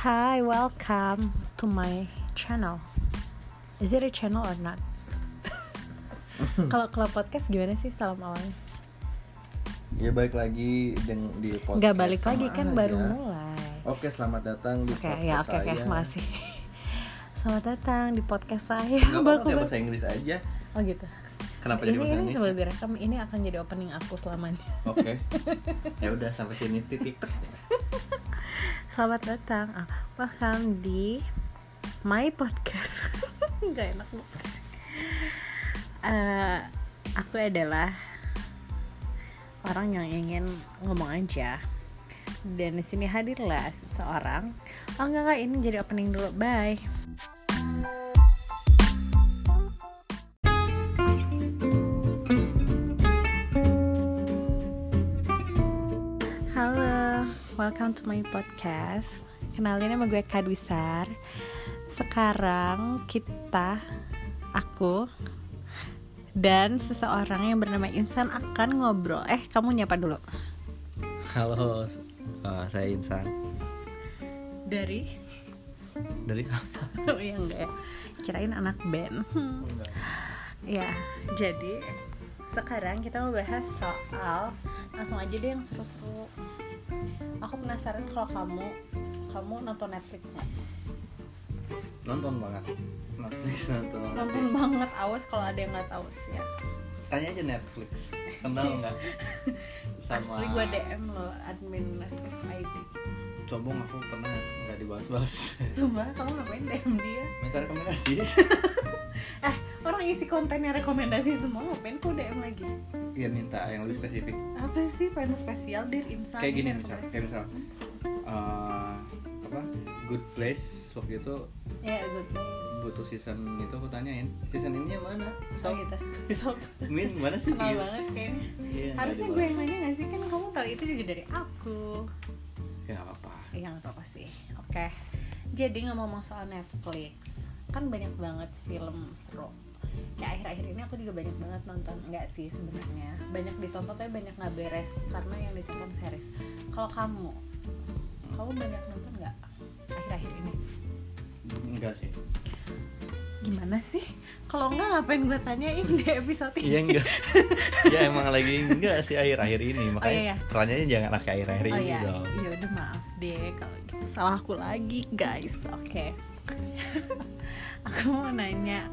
Hi, welcome to my channel. Is it a channel or not? Kalau kalau podcast gimana sih salam awalnya? Ya balik lagi deng- di podcast. Gak balik sama lagi kan aja. baru mulai. Oke, selamat datang di Oke, podcast ya oke oke, saya. makasih. Selamat datang di podcast saya. Nggak apa-apa, Baku pakai banget. bahasa Inggris aja. Oh gitu. Kenapa jadi ini bahasa ini Inggris? sebelum ya? direkam ini akan jadi opening aku selamanya. Oke. Ya udah sampai sini titik. Selamat datang, ah, welcome di my podcast. Gak enak banget. sih. Eh, aku adalah orang yang ingin ngomong aja. Dan di sini hadirlah seseorang. Oh enggak, enggak ini jadi opening dulu. Bye. Halo, welcome to my podcast. Kenalin nama gue Kadwisar. Sekarang kita, aku, dan seseorang yang bernama Insan akan ngobrol. Eh, kamu nyapa dulu. Halo, eh, saya Insan. Dari? Dari apa? Oh ya enggak ya. Kirain anak band. Hmm. Ya, jadi sekarang kita mau bahas soal langsung aja deh yang seru-seru. Aku penasaran kalau kamu kamu nonton Netflix nggak? Nonton banget. Netflix nonton banget. Nonton banget awas kalau ada yang nggak tahu sih ya. Tanya aja Netflix. Kenal nggak? Sama Asli gue DM lo admin Netflix ID. Sombong aku pernah nggak dibahas-bahas. Sumpah kamu ngapain DM dia? Minta rekomendasi. Eh orang isi kontennya rekomendasi semua ngapain kok DM lagi? Iya minta yang lebih spesifik. Apa sih pengen spesial dari insan? kayak gini Dari misal rekomendasi. kayak misal eh, apa good place waktu itu Ya good place. butuh season itu aku tanyain season ini yang mana Oh so gitu. Sob. min mana sih Kenal Iya. banget kayaknya. Iya, nggak Harusnya dibahas. gue yang nanya gak sih kan kamu tahu itu juga dari aku. ya nggak apa Iya nggak apa-apa sih. Oke. Jadi ngomong soal Netflix, kan banyak banget film seru. Kayak akhir-akhir ini aku juga banyak banget nonton Enggak sih sebenarnya Banyak ditonton tapi banyak nggak beres Karena yang ditonton series Kalau kamu Kamu banyak nonton nggak akhir-akhir ini? enggak sih Gimana sih? Kalau nggak ngapain gue tanyain di episode ini? Iya, enggak ya emang lagi enggak sih akhir akhir ini Makanya iya, iya. perannya jangan akhir akhir oh iya, iya udah maaf deh kalau gitu salah aku lagi guys. Oke, aku mau nanya,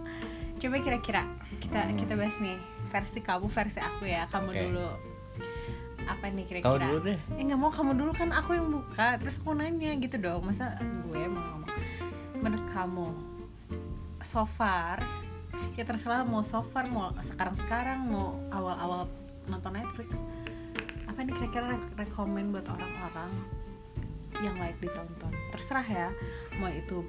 coba kira-kira kita Hmm. kita bahas nih versi kamu versi aku ya kamu Oke. dulu apa nih kira-kira? Kau dulu deh Eh nggak mau kamu dulu kan aku yang buka terus aku nanya gitu dong masa gue mau ngomong menurut kamu so far ya terserah mau so far mau sekarang sekarang mau awal-awal nonton Netflix apa nih kira-kira re- rekomen buat orang-orang yang layak ditonton terserah ya mau itu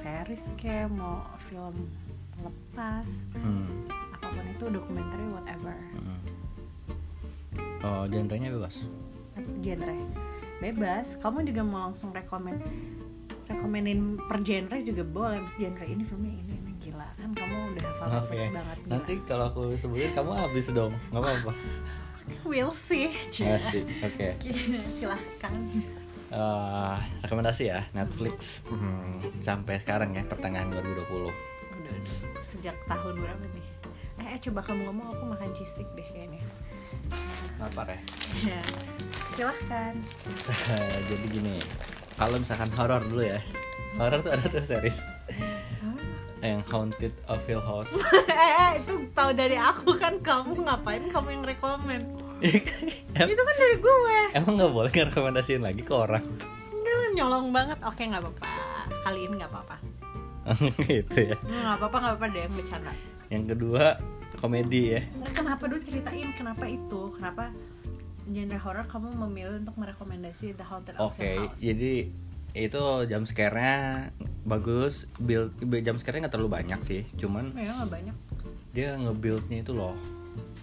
series kayak mau film lepas Hmm, apapun itu dokumenter whatever hmm. oh genrenya bebas genre bebas kamu juga mau langsung rekomen rekomenin per genre juga boleh Mas genre ini filmnya ini ini gila kan kamu udah hafal Maaf Netflix ya, banget gila. nanti kalau aku sebutin kamu habis dong nggak apa apa will see Cina. Asik, oke silahkan Eh, rekomendasi ya Netflix hmm, sampai sekarang ya pertengahan 2020 udah, udah. sejak tahun berapa nih eh, eh, coba kamu ngomong aku makan cheese stick deh kayaknya lapar ya ya silahkan jadi gini kalau misalkan horor dulu ya horor tuh ada tuh series yang Haunted of Hill House eh, eh, itu tahu dari aku kan kamu ngapain kamu yang rekomen Em- itu kan dari gue emang nggak boleh ngerekomendasiin lagi ke orang Kan nyolong banget. Oke nggak apa-apa. Kali ini nggak apa-apa. gitu ya Hmm, Nggak apa-apa nggak apa-apa deh bercanda. yang kedua komedi ya Nah, kenapa dulu ceritain kenapa itu? Kenapa genre horror kamu memilih untuk merekomendasi The Haunted of Oke, Hill House? jadi itu jam scare-nya bagus, build jam scare-nya nggak terlalu banyak sih, cuman Ya nggak banyak. dia nge-build-nya itu loh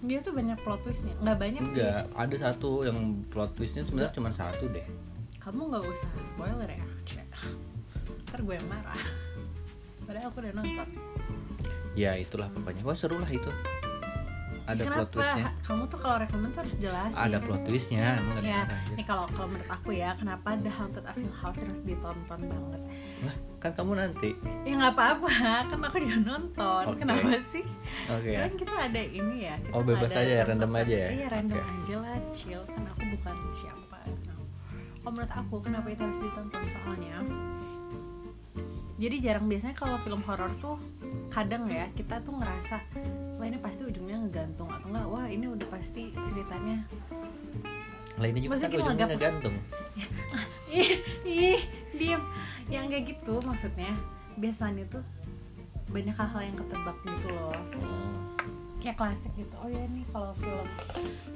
Dia tuh banyak plot twistnya. Nggak banyak sih. Enggak, ada satu yang plot twistnya sebenarnya cuma satu deh. Kamu nggak usah spoiler ya. Cek. Ntar gue yang marah. Padahal aku udah nonton. Ya itulah pokoknya. Wah seru lah itu. ada plot Kenapa? twistnya Kamu tuh kalau rekomend tuh harus jelasin. ada plot twistnya emang gak Ya, ada ini kalau kalau menurut aku ya, kenapa The Haunted of Hill House harus ditonton banget? Lah, kan kamu nanti Ya nggak apa-apa, kan aku juga nonton. Oke. Kenapa sih? oke ya Kan kita ada ini ya. Kita Oh, bebas ada aja ya, random tempat- aja ya? Iya random Oke. aja lah, chill. Kan aku bukan siapa. Nah, Kalau menurut aku kenapa itu harus ditonton soalnya? Jadi jarang biasanya kalau film horor tuh kadang ya kita tuh ngerasa wah ini pasti ujungnya ngegantung atau enggak wah ini udah pasti ceritanya lainnya juga Maksudnya kan gini, ujungnya agak- ngegantung ih ih diem yang kayak gitu maksudnya biasanya tuh banyak hal-hal yang ketebak gitu loh Hmm. kayak klasik gitu oh ya nih kalau film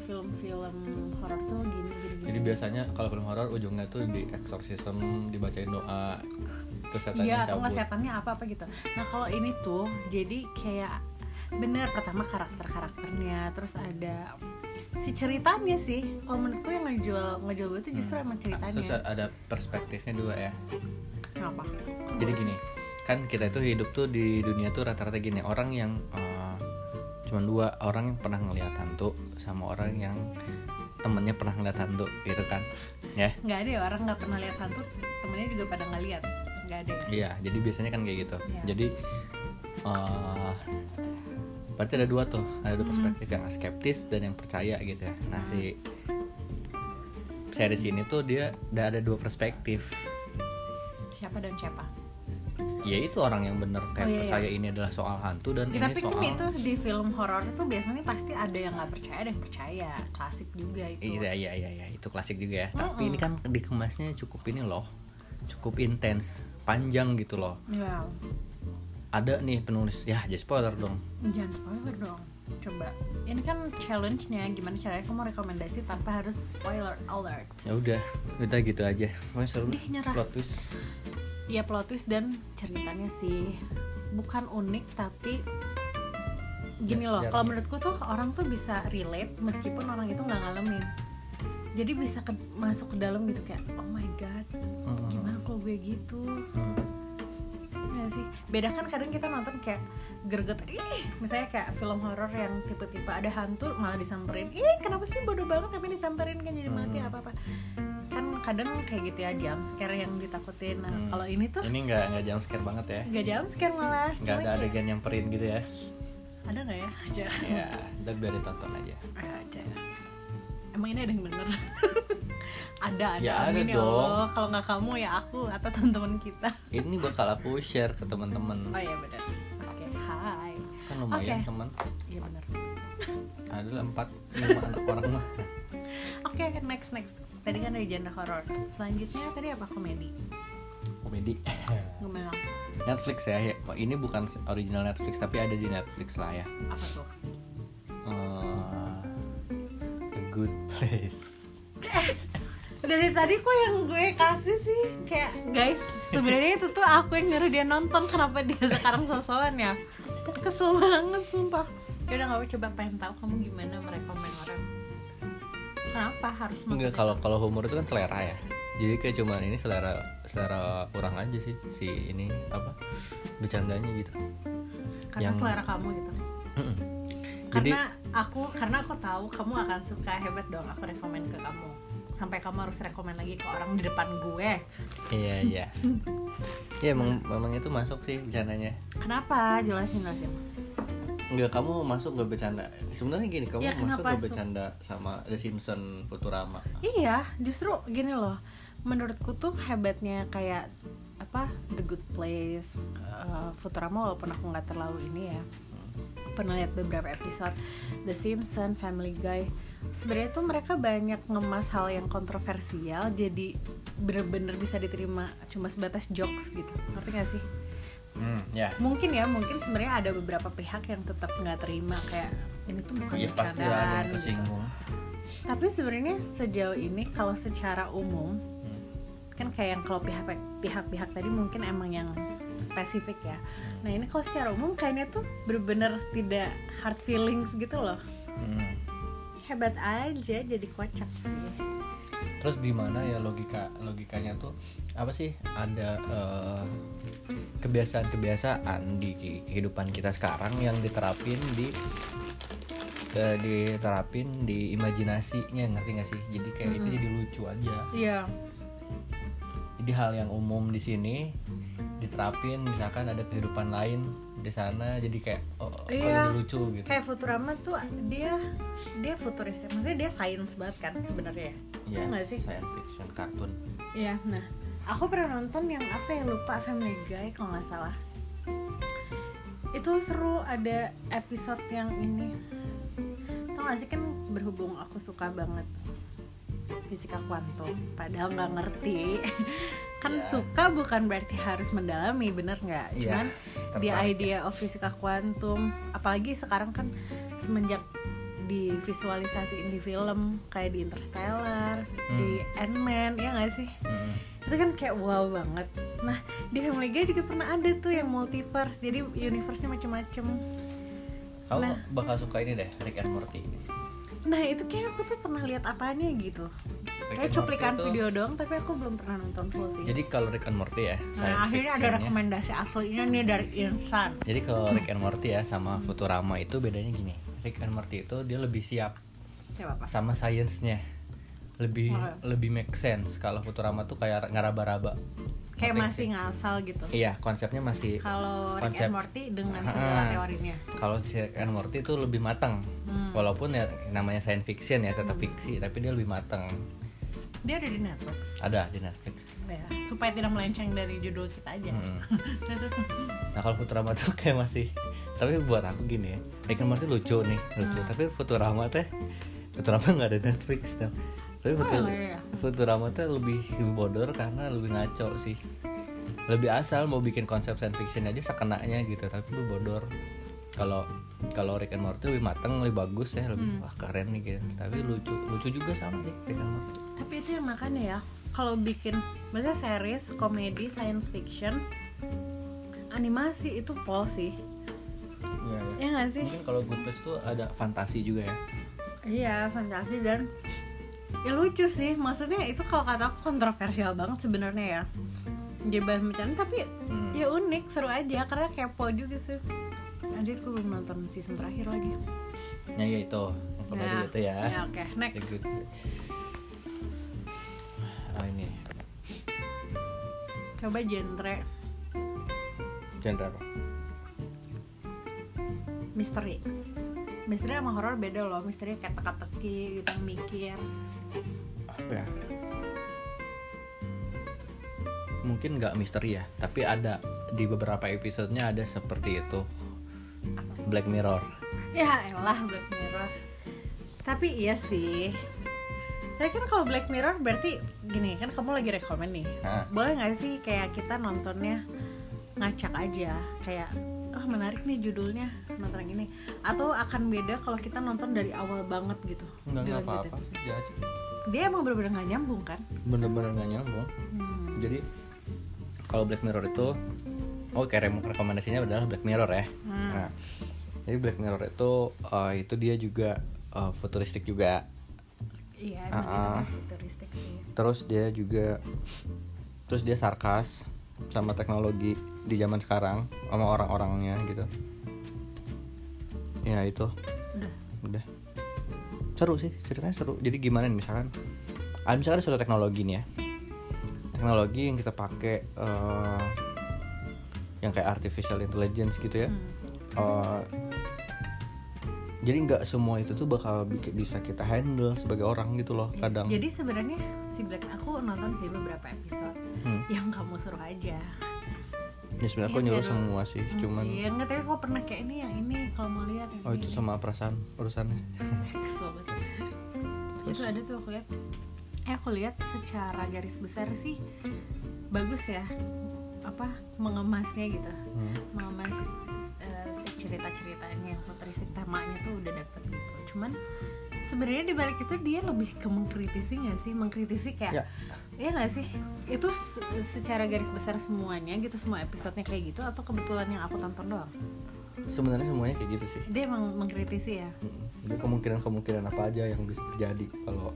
film film horor tuh gini gini, gini. jadi biasanya kalau film horor ujungnya tuh di exorcism dibacain doa terus setannya iya atau nggak cabut setannya apa apa gitu nah kalau ini tuh jadi kayak bener pertama karakter karakternya terus ada si ceritanya sih kalau menurutku yang ngejual ngejual gue tuh justru Hmm. emang ceritanya terus ada perspektifnya juga ya kenapa jadi gini kan kita itu hidup tuh di dunia tuh rata-rata gini orang yang eh, cuman dua orang yang pernah ngelihat hantu sama orang yang temennya pernah ngelihat hantu gitu kan ya nggak ada ya orang nggak pernah lihat hantu temennya juga pada nggak lihat nggak ada ya? iya jadi biasanya kan kayak gitu Iya. jadi eh berarti ada dua tuh ada dua Mhm. perspektif yang skeptis dan yang percaya gitu ya nah si series ini tuh dia udah ada dua perspektif siapa dan siapa ya itu orang yang bener Oh, iya, kayak iya. percaya ini adalah soal hantu dan kita ini pikir soal Ya, itu di film horor itu biasanya pasti ada yang nggak percaya ada yang percaya klasik juga itu Iya iya iya iya itu klasik juga ya. Mm-mm. Tapi ini kan dikemasnya cukup ini loh, cukup intens, panjang gitu loh. Wow, Ada nih penulis ya jadi spoiler dong. jangan spoiler dong coba ini kan challenge-nya gimana caranya kamu rekomendasi tanpa harus spoiler alert Ya udah, udah gitu aja. Pokoknya seru Ih, nyerah. plot twist. ya plot twist dan ceritanya sih bukan unik tapi gini Ya, loh jarang. kalau menurutku tuh orang tuh bisa relate meskipun orang itu nggak ngalamin jadi bisa ke- masuk ke dalam gitu kayak oh my god Hmm. gimana kalau gue gitu Hmm. Iya sih beda kan kadang kita nonton kayak greget ih misalnya kayak film horor yang tipe-tipe ada hantu malah disamperin ih kenapa sih bodoh banget tapi disamperin kan jadi mati Hmm. apa apa kan kadang kayak gitu ya jump scare yang ditakutin nah Hmm. kalau ini tuh Ini nggak nggak jam scare banget ya. nggak jump scare malah Nggak Cuma ada kayak- adegan yang perin gitu ya. ada nggak ya Jangan. Ya, udah biar ditonton aja. Ah, ada emang ini ada yang bener ada ada Ya, ada amin ya dong. allah kalau nggak kamu ya aku atau teman-teman kita Ini bakal aku share ke teman-teman. oh iya benar oke hai Kan lumayan Oke. teman. iya benar Ada empat lima anak orang mah. Oke, next next. Tadi kan dari genre horor. Selanjutnya tadi apa komedi? Komedi. Gue memang Netflix ya, ya. ini bukan original Netflix tapi ada di Netflix lah ya. apa tuh? Eh, a good place. Dari tadi kok yang gue kasih sih kayak guys sebenarnya itu tuh aku yang nyuruh dia nonton kenapa dia sekarang sosokan ya? Kesel banget sumpah. Ya udah nggak apa coba pengen tahu kamu gimana merekomen orang. Kenapa harus nonton Enggak kalau kalau humor itu kan selera ya. Jadi kayak cuman ini selera selera kurang aja sih si ini apa bercandanya gitu. karena yang- selera kamu gitu. Mm-mm. Jadi Karena aku karena aku tahu kamu akan suka hebat dong aku rekomen ke kamu. Sampai kamu harus rekomen lagi ke orang di depan gue. iya iya. Ya emang memang itu masuk sih bercandanya. Kenapa? Jelasin jelasin. Enggak kamu masuk gak bercanda. Sebenarnya gini kamu Ya, masuk kenapa gak su- bercanda sama The Simpson Futurama. Iya, justru gini loh. Menurutku tuh hebatnya kayak apa The Good Place, uh, Futurama walaupun aku nggak terlalu ini ya. Pernah lihat beberapa episode The Simpsons, Family Guy. Sebenarnya tuh mereka banyak ngemas hal yang kontroversial jadi bener-bener bisa diterima cuma sebatas jokes gitu. Ngerti gak sih? Hmm, ya. Mungkin ya, mungkin sebenarnya ada beberapa pihak yang tetap nggak terima kayak ini tuh bukan Ya pasti ada bercandaan yang gitu. tersinggung. Tapi sebenarnya sejauh ini kalau secara umum Hmm. kan kayak yang kalau pihak- pihak-pihak tadi mungkin emang yang spesifik ya. Nah ini kalau secara umum kayaknya tuh bener-bener tidak hard feelings gitu loh. Hmm. Hebat aja jadi kocak sih. terus di mana ya logika logikanya tuh apa sih ada eh, kebiasaan-kebiasaan di kehidupan kita sekarang yang diterapin di eh, diterapin di imajinasinya ngerti gak sih jadi kayak itu Mm-mm. jadi lucu aja Iya. jadi hal yang umum di sini diterapin misalkan ada kehidupan lain di sana jadi kayak oh, oh, Iya. jadi lucu gitu Kayak Futurama tuh dia dia futuristik. Maksudnya dia sains banget kan sebenarnya. ya? Iya, nggak sih? science fiction kartun Iya. Nah, aku pernah nonton yang apa ya lupa Family Guy kalau nggak salah. Itu seru ada episode yang ini. Tau gak sih kan berhubung aku suka banget fisika kuantum padahal nggak ngerti kan Iya. suka bukan berarti harus mendalami bener nggak Iya. cuman the Tertarik ya? idea of fisika kuantum apalagi sekarang kan semenjak divisualisasiin di film kayak di Interstellar, di Hmm. Ant-Man, ya nggak sih? Mm-mm. Itu kan kayak wow banget. Nah, di Family Guy juga pernah ada tuh yang multiverse, jadi universe-nya macem-macem. kamu Nah. bakal suka ini deh Rick and Morty Nah, itu kayak aku tuh pernah lihat apanya gitu. Rick Kayak and cuplikan Morty tuh- video doang, tapi aku belum pernah nonton full sih. jadi kalau Rick and Morty ya science nah, akhirnya ada fictionnya- rekomendasi aku ini nih dari Insan. Jadi kalau Rick and Morty ya sama Futurama itu bedanya gini. Rick and Morty itu dia lebih siap Coba apa? sama sainsnya. Lebih Oke. lebih make sense. Kalau Futurama tuh kayak ngaraba-raba. Kayak Ngerti masih nggak ngasal gitu. sih? Iya, konsepnya masih Kalau Rick Konsep. and Morty dengan segala Ah. teorinya. kalau si Rick and Morty itu lebih matang. Hmm. Walaupun ya namanya science fiction ya tetap fiksi, tapi dia lebih matang. Dia ada di Netflix. Ada di Netflix. Ya, supaya tidak melenceng dari judul kita aja. Mm-mm. Nah kalau Futurama tuh kayak masih tapi buat aku gini ya Rick and Morty lucu nih lucu Hmm. tapi Futurama teh Futurama nggak ada Netflix tau. tapi Futur- Oh, iya. Futurama teh lebih lebih bodor karena lebih ngaco sih lebih asal mau bikin konsep science fiction aja sekenanya gitu tapi lu bodor kalau kalau Rick and Morty lebih matang lebih bagus ya lebih Hmm. wah keren nih gitu tapi lucu lucu juga sama sih Rick and Morty Tapi itu yang makanya ya, kalau bikin maksudnya series, komedi, science fiction, animasi itu pol sih. Ya nggak sih? mungkin kalau Good Place tuh ada fantasi juga ya Iya, fantasi dan ya lucu sih. Maksudnya itu kalau kata aku kontroversial banget sebenarnya ya. Jadi bahan bercanda, tapi Hmm. ya unik, seru aja karena kepo juga sih. Anjir, aku belum nonton season terakhir lagi. nah ya itu komedi Nah, itu ya ya, Oke, The next. Good Place. Oh ini Coba genre genre apa? misteri misteri sama horor beda loh misteri kayak teka-teki gitu yang mikir Apa ya? Mungkin nggak misteri ya, tapi ada di beberapa episodenya ada seperti itu. Black Mirror. ya elah Black Mirror tapi iya sih tapi kan kalau Black Mirror berarti gini kan kamu lagi rekomen nih Nah, boleh nggak sih kayak kita nontonnya ngacak aja kayak ah menarik nih judulnya nonton yang ini atau akan beda kalau kita nonton dari awal banget gitu nggak Dilanjutin. apa-apa Ya sih, jahat. dia emang bener-bener nggak nyambung kan Bener-bener nggak nyambung. Hmm. Jadi kalau Black Mirror itu, oh kayak re- rekomendasinya adalah Black Mirror ya. Hmm. Nah, jadi Black Mirror itu, eh, itu dia juga eh, futuristik juga. iya emang itu Ah, ah. kan futuristik sih terus dia juga terus dia sarkas sama teknologi di zaman sekarang sama orang-orangnya gitu ya itu udah udah seru sih ceritanya seru jadi gimana nih misalkan ada misalkan ada suatu teknologi nih ya teknologi yang kita pakai eh, yang kayak artificial intelligence gitu ya Hmm. Eh, jadi nggak semua itu tuh bakal bikin- bisa kita handle sebagai orang gitu loh kadang Jadi sebenarnya si Black aku nonton sih beberapa episode Hmm. yang kamu suruh aja. Ya sebenarnya aku Iya, nyuruh biar- semua sih, cuman Iya nggak tapi aku pernah kayak ini yang ini kalau mau lihat yang oh ini. itu sama perasaan urusannya. Kesel banget. Terus? Itu ada tuh aku lihat. Eh aku lihat secara garis besar sih bagus ya apa mengemasnya gitu Hmm. mengemas eh, si cerita-ceritanya yang futuristik temanya tuh udah dapet gitu cuman sebenarnya dibalik itu dia lebih ke mengkritisi nggak sih mengkritisi kayak Ya. Iya nggak sih? Itu se- secara garis besar semuanya gitu semua episodenya kayak gitu atau kebetulan yang aku tonton doang? Sebenarnya semuanya kayak gitu sih. Dia emang mengkritisi ya. Mm. Jadi kemungkinan-kemungkinan apa aja yang bisa terjadi kalau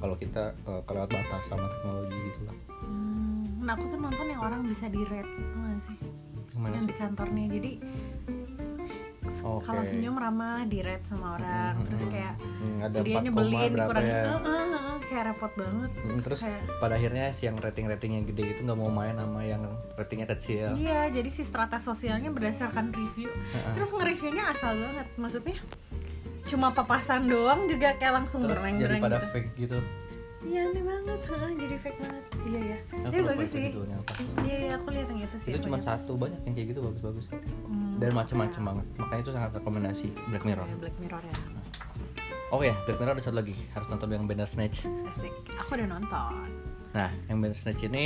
kalau kita eh, kelewat batas sama teknologi gitu lah. Hmm, nah aku tuh nonton yang orang bisa di rate, tau nggak sih? Gimana Yang sih? di kantornya jadi se- Oke. kalau senyum ramah di rate sama orang terus Mm-mm. kayak Hmm, ada dia 4 koma nyebelin berapa dikurangin ya eh, eh, eh, kayak repot banget Hmm, terus kayak pada akhirnya si yang rating-ratingnya gede itu nggak mau main sama yang ratingnya kecil Iya, jadi si strata sosialnya berdasarkan review. Ah. Terus nge-reviewnya asal banget, maksudnya cuma papasan doang juga kayak langsung terus jadi bereng-bereng pada gitu. fake gitu Iya, aneh banget. Heeh, jadi fake banget. Iya, iya. aku Tapi lupa bagus itu sih. judulnya apa. Iya, iya, aku lihat yang itu sih. itu cuma banyak. satu banyak yang kayak gitu bagus-bagus kok. Hmm, dan macam-macam banget makanya itu sangat rekomendasi Black Mirror kayak Black Mirror ya. oh ya Black Mirror ada satu lagi harus nonton yang Bandersnatch Asik. Aku udah nonton. nah yang Bandersnatch ini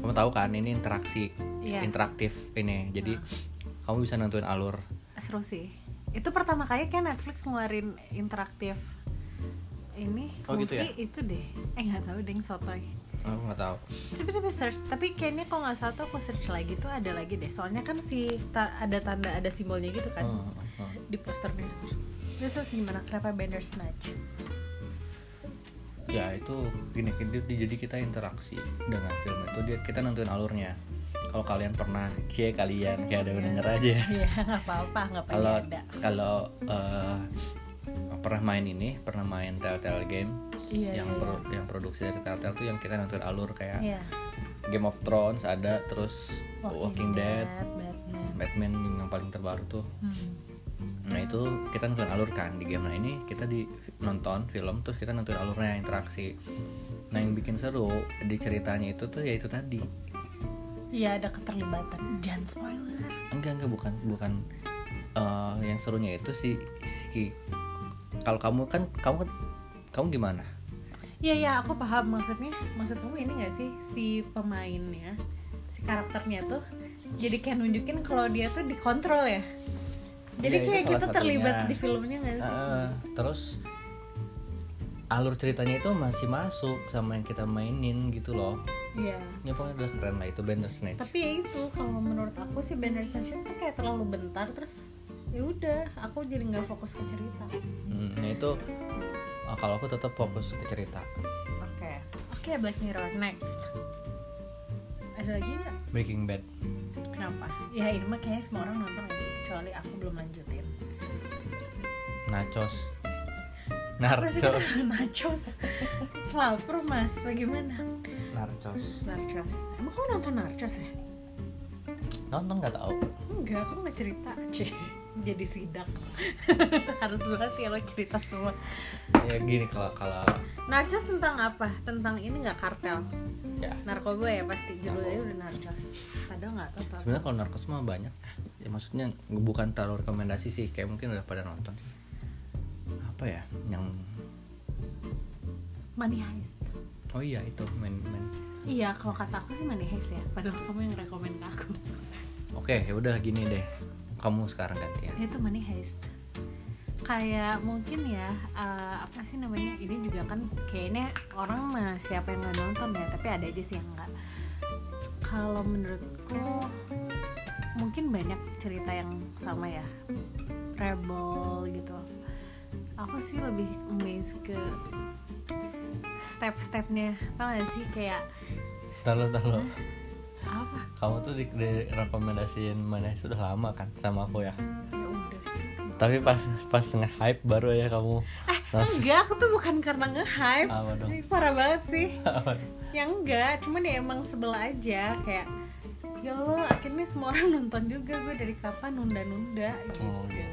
kamu tahu kan ini interaksi Iya. interaktif ini jadi kamu bisa nentuin alur Seru sih. Itu pertama kali kayak Netflix ngeluarin interaktif ini Oh, gitu ya? movie itu deh. Eh nggak tahu deng sotoy. aku nggak tahu Coba coba search, tapi kayaknya kalau nggak salah tuh aku search lagi tuh ada lagi deh. Soalnya kan si ta- ada tanda ada simbolnya gitu kan Hmm, hmm. di posternya. Terus, terus gimana? Kenapa Bender Snatch? ya itu gini jadi- jadi kita interaksi dengan film itu dia kita nentuin alurnya kalau kalian pernah cie kalian kayak ada denger aja Iya nggak apa-apa nggak kalau apa-apa ya, Oh, iya, ada. kalau eh, pernah main ini pernah main Telltale game Iya, yang iya, pro- yang produksi dari Telltale tuh yang kita nentuin alur kayak Iya. Game of Thrones ada terus Walking, Dead, Batman. Batman yang paling terbaru tuh Hmm. nah itu kita nentuin alur kan di game nah ini kita di nonton film terus kita nentuin alurnya interaksi nah yang bikin seru di ceritanya itu tuh ya itu tadi Iya ada keterlibatan. Jangan spoiler. enggak enggak bukan bukan eh, yang serunya itu si si kalau kamu kan kamu kamu gimana Iya iya aku paham maksudnya. Maksud kamu ini nggak sih si pemainnya, si karakternya tuh jadi kayak nunjukin kalau dia tuh dikontrol ya. Jadi Iya, itu kayak salah gitu terlibat satunya. di filmnya nggak sih? Eh, terus alur ceritanya itu masih masuk sama yang kita mainin gitu loh Iya. ya pokoknya udah keren lah itu Bandersnatch Tapi ya itu kalau menurut aku sih Bandersnatch tuh kayak terlalu bentar terus ya udah aku jadi nggak fokus ke cerita. Hmm, nah itu eh, kalau aku tetap fokus ke cerita Oke. Oke Black Mirror next. Ada lagi nggak? Breaking Bad Kenapa? Ya ini mah kayaknya semua orang nonton aja kecuali aku belum lanjutin. Nachos Terus kita Narcos nachos. Lapar mas, bagaimana? Narcos Nachos. Emang kamu nonton nachos ya? Nonton nggak tahu Enggak, aku nggak cerita. Cih, jadi sidak. Harus banget ya lo cerita semua. Ya gini kalau kalau Narcos tentang apa? Tentang ini nggak kartel? ya Narkoba ya pasti judulnya udah narcos. Padahal nggak tahu. apa. sebenarnya kalau narkos mah banyak ya maksudnya bukan terlalu rekomendasi sih kayak mungkin udah pada nonton apa ya yang Money heist. oh iya itu main main Iya, kalau kata aku sih money heist ya. Padahal kamu yang rekomend ke aku. oke ya udah gini deh kamu sekarang gantian Itu money heist. Kayak mungkin ya eh, apa sih namanya? Ini juga kan kayaknya orang mah siapa yang nggak nonton ya, tapi ada aja sih yang nggak. Kalau menurutku mungkin banyak cerita yang sama ya. Rebel gitu. Aku sih lebih amazed ke step-stepnya tau gak sih kayak Tahu tahu apa kamu tuh di, direkomendasiin mana sudah lama kan sama aku ya ya udah sih Eh, tapi pas pas nge hype baru ya kamu enggak aku tuh bukan karena nge-hype Apa dong? Ih, parah banget sih yang enggak cuman ya emang sebel aja kayak ya Allah akhirnya semua orang nonton juga gue dari kapan nunda-nunda gitu Oh gitu.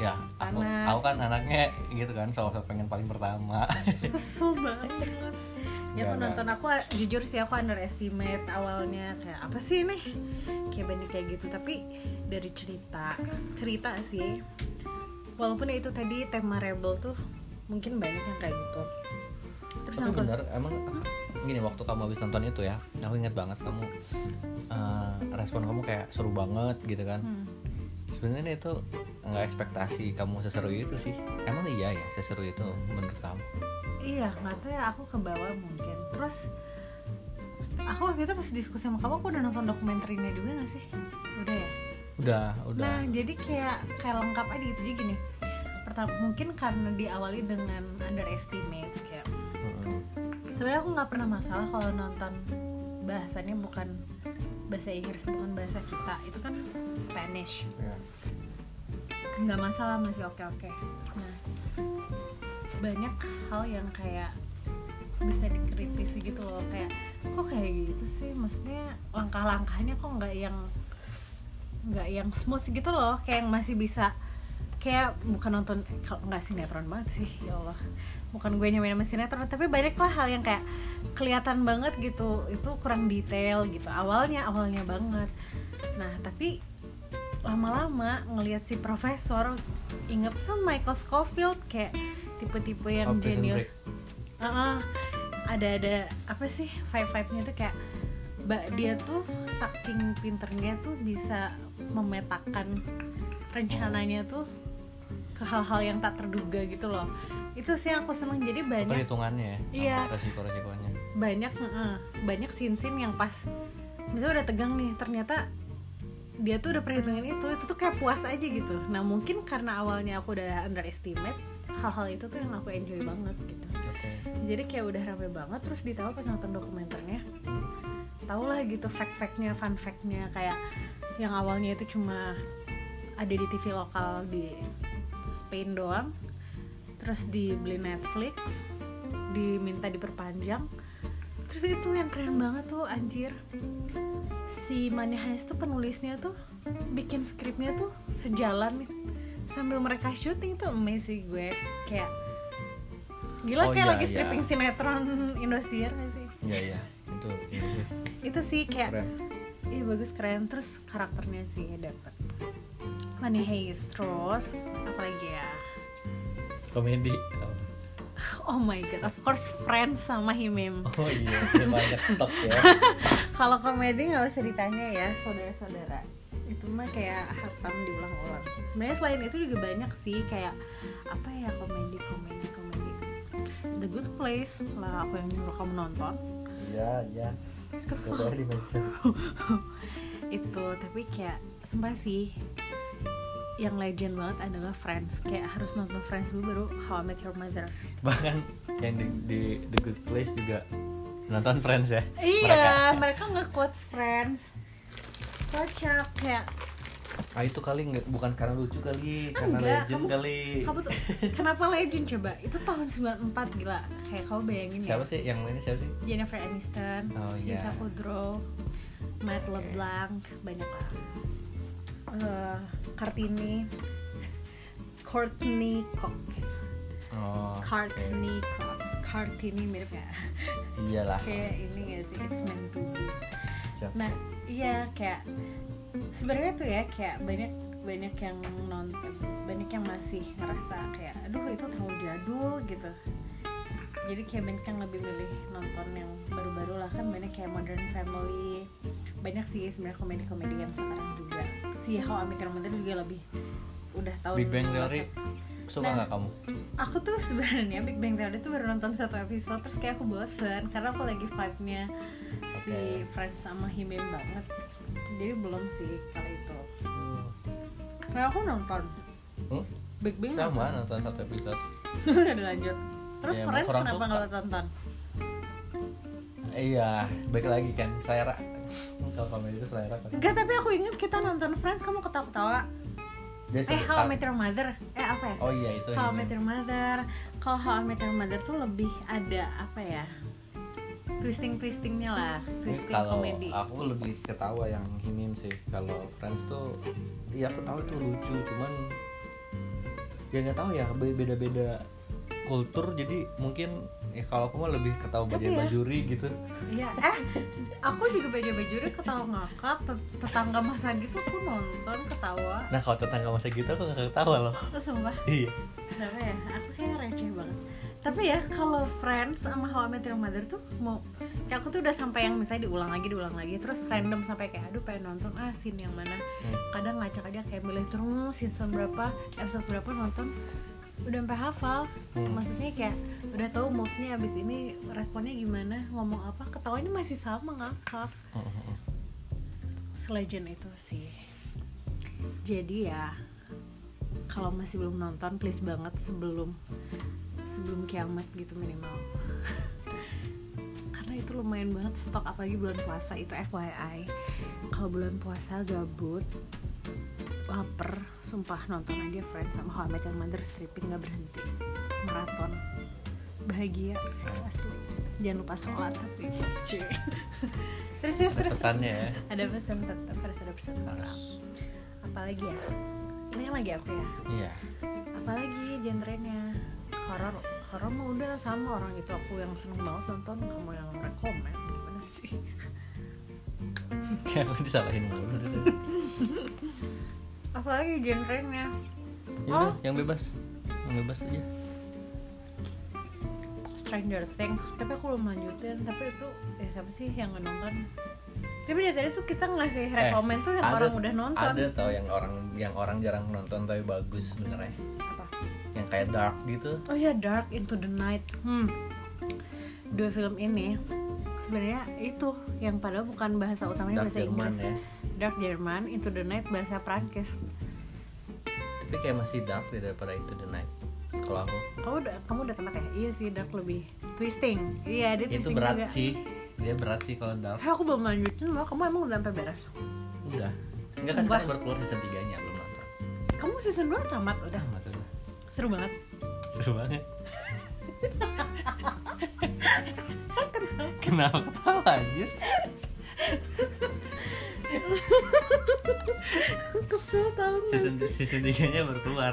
Ya, aku, Panas. aku kan anaknya gitu kan, selalu pengen paling pertama. kesel banget ya Enggak, penonton aku ah, jujur sih aku underestimate awalnya kayak apa sih ini kayak banding kayak gitu tapi dari cerita cerita sih walaupun ya itu tadi tema rebel tuh mungkin banyak yang kayak gitu terus Tapi yang kedua- bener, emang gini waktu kamu habis nonton itu ya, aku ingat banget kamu eh, respon kamu kayak seru banget gitu kan. Hmm. Sebenarnya itu nggak ekspektasi kamu seseru itu sih. Emang iya ya seseru itu menurut kamu? Iya, nggak tahu ya aku ke bawah mungkin. Terus aku waktu itu pas diskusi sama kamu aku udah nonton dokumenternya juga gak sih? Udah ya. Udah, udah. Nah, jadi kayak kayak lengkap aja gitu jadi gini. Pertama mungkin karena diawali dengan underestimate kayak Mm-mm. sebenarnya aku nggak pernah masalah kalau nonton bahasanya bukan bahasa Inggris bukan bahasa kita itu kan Spanish Iya. nggak masalah masih oke oke nah banyak hal yang kayak bisa dikritisi gitu loh kayak kok kayak gitu sih maksudnya langkah-langkahnya kok nggak yang nggak yang smooth gitu loh kayak yang masih bisa kayak bukan nonton eh, kalau nggak sinetron banget sih ya Allah bukan gue nyamain sama sinetron tapi banyak lah hal yang kayak kelihatan banget gitu itu kurang detail gitu awalnya awalnya banget nah tapi lama-lama ngelihat si profesor inget sama Michael Scofield kayak tipe-tipe yang Prison jenius Break. Heeh. ada ada apa sih vibe vibe nya tuh kayak mbak dia tuh saking pinternya tuh bisa memetakan rencananya tuh ke hal-hal yang tak terduga gitu loh itu sih yang aku seneng jadi apa banyak hitungannya ya Iya. sama resiko-resikonya banyak heeh, banyak sin-sin yang pas misalnya udah tegang nih ternyata dia tuh udah perhitungan itu itu tuh kayak puas aja gitu nah mungkin karena awalnya aku udah underestimate hal-hal itu tuh yang aku enjoy banget gitu oke jadi kayak udah rame banget terus ditambah pas nonton dokumenternya Hmm. tau lah gitu fact-factnya fun fact-nya kayak yang awalnya itu cuma ada di TV lokal di Spain doang terus dibeli Netflix diminta diperpanjang terus itu yang keren banget tuh anjir si Money Heist tuh penulisnya tuh bikin skripnya tuh sejalan sambil mereka syuting tuh amazing gue kayak gila Oh, kayak iya, lagi iya. stripping sinetron Indosiar gak sih iya iya itu iya sih. itu sih kayak keren Iya bagus keren terus karakternya sih dapet Money Heist terus apalagi ya komedi Oh my god of course Friends sama Himim oh iya udah banyak stok ya Kalau komedi nggak usah ditanya ya saudara-saudara itu mah kayak hatam diulang-ulang sebenarnya selain itu juga banyak sih kayak apa ya komedi komedi komedi The Good Place lah aku yang nyuruh kamu nonton Iya, iya. kesel Coba dimention. itu tapi kayak sumpah sih yang legend banget adalah Friends kayak harus nonton Friends dulu baru How I Met Your Mother bahkan yang di, di The Good Place juga nonton Friends ya iya mereka nge quotes Friends kocak kayak mereka. ah itu kali nggak bukan karena lucu kali karena Enggak, legend kamu- kali kamu tuh kenapa legend coba itu tahun 94 gila kayak kamu bayangin siapa ya sih yang mainnya siapa sih Jennifer Aniston Oh, iya. Lisa Kudrow Matt Oke. LeBlanc banyak lah Eh, Kartini Courtney Cox oh Kartini Cox Kartini mirip ya iyalah kayak ini ya sih it's meant to be Siap. nah iya kayak sebenarnya tuh ya kayak banyak banyak yang nonton banyak yang masih ngerasa kayak aduh itu terlalu jadul gitu jadi kayak banyak yang lebih milih nonton yang baru-baru lah kan banyak kayak Modern Family banyak sih sebenarnya komedi-komedi yang sekarang juga si How I Met Your Mother juga lebih udah tahun Big Bang Theory suka Nah. nggak kamu aku tuh sebenarnya Big Bang Theory tuh baru nonton satu episode terus kayak aku bosen karena aku lagi vibe-nya si Oke. Friends sama Himim banget jadi belum sih kali itu karena aku nonton Hmm? Big Bang sama nonton. nonton satu episode Nggak dilanjut terus Ya, emang Friends kurang kenapa suka. nggak lo tonton iya baik lagi kan selera kalau komedi itu selera kan enggak tapi aku inget kita nonton Friends kamu ketawa-ketawa eh Jadi sebe- How I kar- Met Your Mother eh apa ya oh iya itu How I ini. Met Your Mother kalau How I Met Your Mother tuh lebih ada apa ya twisting twistingnya lah Ini twisting kalau komedi aku lebih ketawa yang himim sih kalau Friends tuh ya aku tahu itu lucu cuman ya nggak tahu ya be- beda-beda kultur jadi mungkin ya kalau aku mah lebih ketawa Tapi bajai ya. bajuri gitu Iya, eh aku juga baju bajuri ketawa ngakak tet- tetangga masa gitu aku nonton ketawa nah kalau tetangga masa gitu aku nggak ketawa loh terus sumpah iya kenapa ya aku kayak receh banget tapi ya kalau Friends sama How I Met Your Mother tuh mau kayak aku tuh udah sampai yang misalnya diulang lagi diulang lagi terus random sampai kayak aduh pengen nonton ah scene yang mana kadang ngacak aja kayak milih terus season berapa episode berapa nonton udah sampai hafal Hmm. maksudnya kayak udah tahu move nya abis ini responnya gimana ngomong apa ketawanya masih sama ngakak Selegion itu sih jadi ya kalau masih belum nonton please banget sebelum sebelum kiamat gitu minimal karena itu lumayan banget stok apalagi bulan puasa itu FYI kalau bulan puasa gabut lapar sumpah nonton aja Friends sama How I Met Your Mother stripping nggak berhenti maraton bahagia sih asli jangan lupa sholat tapi Cie. terus terus Ada terus pesannya ya ada pesan tetap harus ada pesan moral harus apalagi ya ini kan lagi aku ya iya apalagi genrenya horor horor mah udah sama orang itu aku yang seneng banget nonton kamu yang rekomen gimana sih kayak lu disalahin mulu dari tadi. apalagi genrenya ya udah yang bebas yang bebas aja Stranger Things tapi aku belum lanjutin tapi itu ya siapa sih yang nonton tapi dari tadi tuh kita ngasih rekomen tuh yang Eh, ada- orang udah nonton ada tau yang orang yang orang jarang nonton tapi bagus sebenarnya apa yang kayak dark gitu oh ya Dark Into the Night hmm dua film ini sebenarnya itu yang padahal bukan bahasa utamanya dark bahasa Jerman Inggris ya Dark Jerman Into the Night bahasa Prancis tapi kayak masih dark deh daripada itu the night kalau aku kamu udah kamu udah tempat ya iya sih Dark lebih twisting iya dia itu twisting berat juga. sih dia berat sih kalau dark Hah, aku belum lanjutin loh kamu emang udah sampai beres udah enggak kan Wah. sekarang baru keluar season 3 nya belum nonton Ah, kamu season 2 tamat udah udah nggak tahu seru banget seru banget kenapa ketawa anjir kesel tau nggak? season season 3 nya baru keluar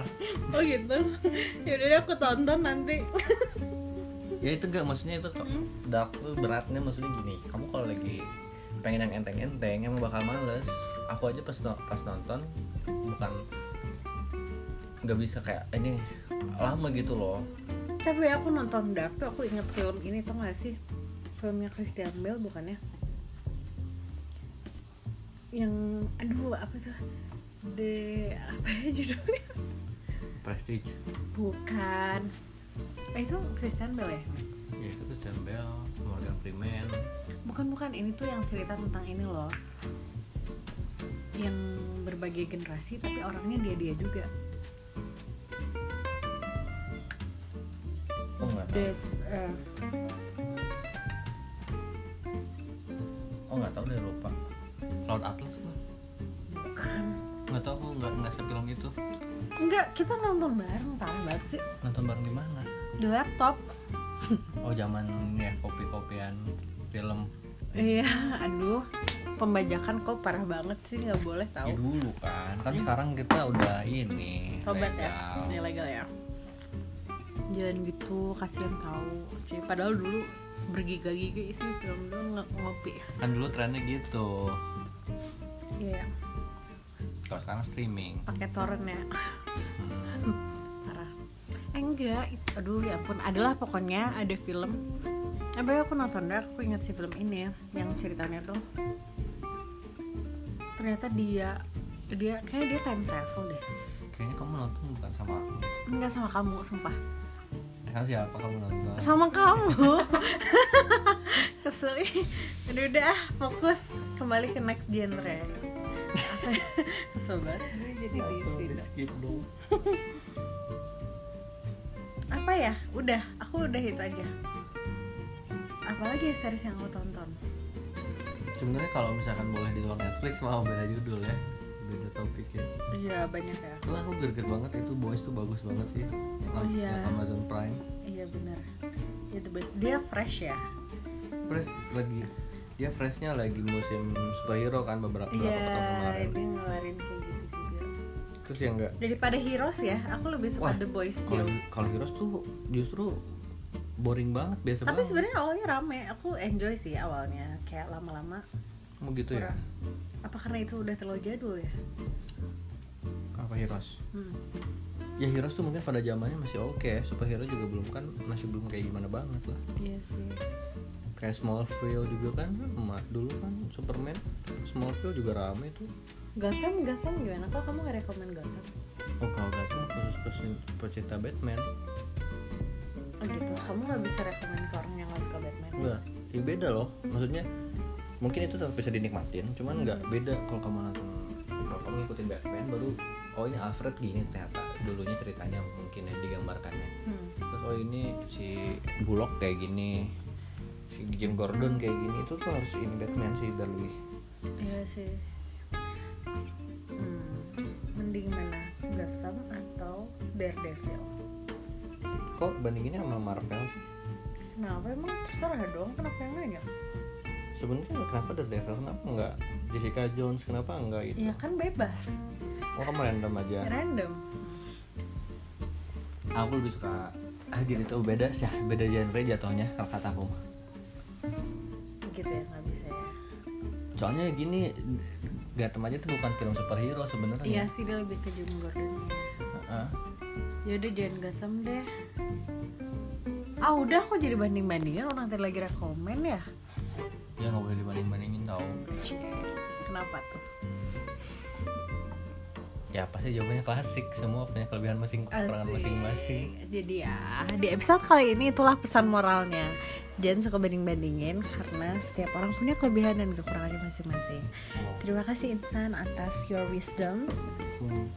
oh gitu yaudah deh, aku tonton nanti ya itu enggak maksudnya itu kok dark tuh beratnya maksudnya gini kamu kalau lagi pengen yang enteng-enteng emang bakal males aku aja pas no- pas nonton bukan nggak bisa kayak "Eh, ini lama gitu loh tapi aku nonton Dark tuh aku inget film ini tau gak sih filmnya Christian Bale bukannya yang aduh apa tuh the apa ya judulnya prestige bukan eh, itu Christian Bale ya ya itu tuh Campbell Morgan Freeman bukan bukan ini tuh yang cerita tentang ini loh yang berbagai generasi tapi orangnya dia dia juga oh nggak tahu Des, eh, oh nggak tahu deh lupa Cloud Atlas mah bukan nggak tahu aku nggak nggak sepilong itu enggak kita nonton bareng parah banget sih nonton bareng di mana di laptop oh zaman ya kopi-kopian film iya aduh pembajakan kok parah banget sih nggak boleh ya tahu dulu kan kan sekarang kita udah ini tobat ya legal. ilegal ya jangan gitu kasihan tahu Cie, padahal dulu bergiga-giga sih film dulu nggak ngopi kan dulu trennya gitu iya kalau sekarang streaming pakai torrent ya Hmm. parah eh, enggak itu- aduh ya ampun adalah pokoknya ada film apa ya aku nonton Dark, aku ingat si film ini ya yang ceritanya tuh ternyata dia dia kayak dia time travel deh kayaknya kamu nonton bukan sama aku enggak sama kamu sumpah Eh, sama siapa kamu nonton sama kamu kesel ih. aduh udah ah, fokus kembali ke next genre kesel banget gue jadi di situ. skip dong apa ya udah aku udah itu aja apalagi ya series yang aku tonton sebenarnya kalau misalkan boleh di luar Netflix mau beda judul ya beda topik ya Iya banyak ya. cuma aku greget banget itu boys tuh bagus banget sih yang Oh, iya. yang Amazon Prime Iya benar. Itu best. Dia fresh ya. fresh lagi dia freshnya lagi musim superhero kan beberapa beberapa tahun Iya. kemarin Dia ngeluarin kayak gitu juga. terus yang enggak Daripada Heroes ya, aku lebih suka Wah, The Boys kalau still. kalau Heroes tuh justru boring banget biasa Tapi banget sebenarnya awalnya rame. Aku enjoy sih awalnya. Kayak lama-lama. mau gitu ya Apa karena itu udah terlalu jadul ya? apa Heroes Hmm. ya Heroes tuh mungkin pada zamannya masih oke superhero juga belum kan masih belum kayak gimana banget lah Iya sih. kayak Smallville juga kan emak dulu kan Superman Smallville juga rame tuh Gotham, Gotham gimana? Kok kamu nggak rekomen Gotham? oh kalau gak tuh khusus pesen- pecinta Batman Oh gitu. Kamu nggak bisa rekomen ke orang yang nggak suka Batman. enggak ya beda loh maksudnya mungkin itu tetap bisa dinikmatin cuman nggak beda kalau kamu nonton kalau kamu ngikutin Batman baru oh ini Alfred gini ternyata dulunya ceritanya mungkin ya digambarkannya Hmm. terus oh ini si Bullock kayak gini si Jim Gordon kayak gini itu tuh harus ini Batman sih biar lebih Iya sih. Hmm. Mending mana? Daredevil Kok bandinginnya sama Marvel sih? kenapa emang terserah dong kenapa yang banyak Sebenarnya kenapa Daredevil? Kenapa nggak Jessica Jones? Kenapa nggak itu? ya kan bebas Oh kamu random Iya. aja. random Aku lebih suka ah gini tuh beda sih, beda genre jatuhnya kalau kata aku. gitu ya nggak bisa ya Soalnya gini Gatem aja tuh bukan film superhero iya sebenarnya. sih dia lebih ke Jim Gordon Heeh. yaudah Ya jangan Gotham deh ah udah kok jadi banding bandingan orang tadi lagi rekomen ya Ya nggak boleh dibanding-bandingin tau. kenapa tuh Ya pasti jawabannya klasik semua punya kelebihan masing kekurangan Asik. masing-masing. Jadi ya di episode kali ini itulah pesan moralnya. Jangan suka banding-bandingin karena setiap orang punya kelebihan dan kekurangannya masing-masing. Terima kasih Insan atas your wisdom. Hmm.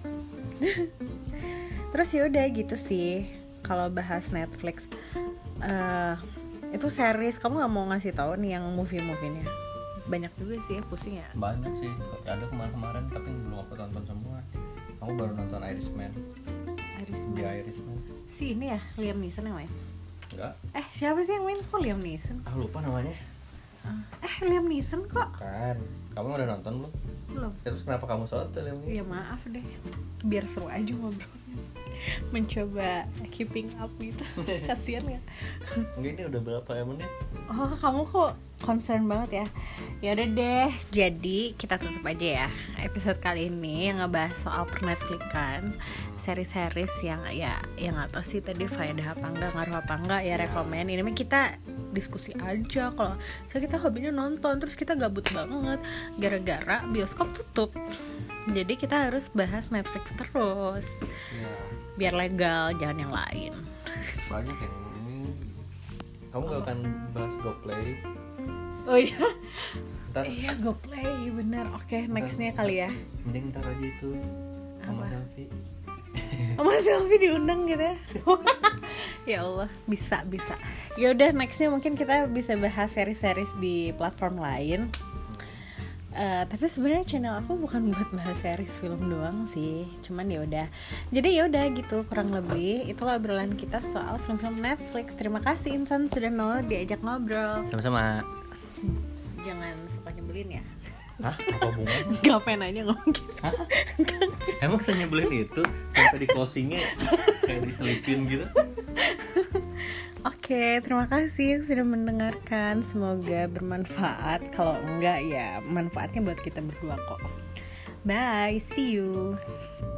Terus ya udah gitu sih kalau bahas Netflix. eh itu series kamu nggak mau ngasih tahu nih yang movie-movie-nya banyak juga sih ya, pusing ya Banyak sih ada kemarin-kemarin tapi belum aku tonton semua. Aku baru nonton Irishman. Dia Irishman Irishman. si ini ya Liam Neeson yang main Enggak. eh siapa sih yang main kok Liam Neeson Ah lupa namanya. eh Liam Neeson kok Bukan. Kan. Kamu udah nonton belum? belum Ya, Terus kenapa kamu sotel yang ini? Ya maaf deh, biar seru aja ngobrolnya Mencoba keeping up gitu, kasian ya Enggak ini udah berapa ya menit? Oh kamu kok concern banget ya Yaudah deh, jadi kita tutup aja ya Episode kali ini yang ngebahas soal pernetflikan Seri-series yang ya yang nggak tahu sih tadi faedah apa enggak, ngaruh apa enggak ya Ya. rekomen Ini mah kita diskusi aja kalau so kita hobinya nonton terus kita gabut banget gara-gara bioskop tutup jadi kita harus bahas Netflix terus Ya, biar legal jangan yang lain banyak yang ini. Kamu gak akan bahas GoPlay? oh iya Ntar, iya go play bener oke nextnya ntar- kali ya mending ntar aja itu Apa? sama selfie. sama selfie diundang gitu ya ya Allah bisa bisa ya udah nextnya mungkin kita bisa bahas series-series di platform lain Eh, tapi sebenarnya channel aku bukan buat bahas series film doang sih cuman ya udah jadi ya udah gitu kurang lebih itulah obrolan kita soal film-film Netflix terima kasih Insan sudah mau diajak ngobrol Sama-sama. jangan suka nyebelin ya Hah? Apa bunga? gak pengen nanya ngomong gitu Hah? Emang senyebelin itu sampai di closingnya kayak diselipin gitu? Oke, terima kasih yang sudah mendengarkan. Semoga bermanfaat. Kalau enggak ya manfaatnya buat kita berdua kok. Bye, see you.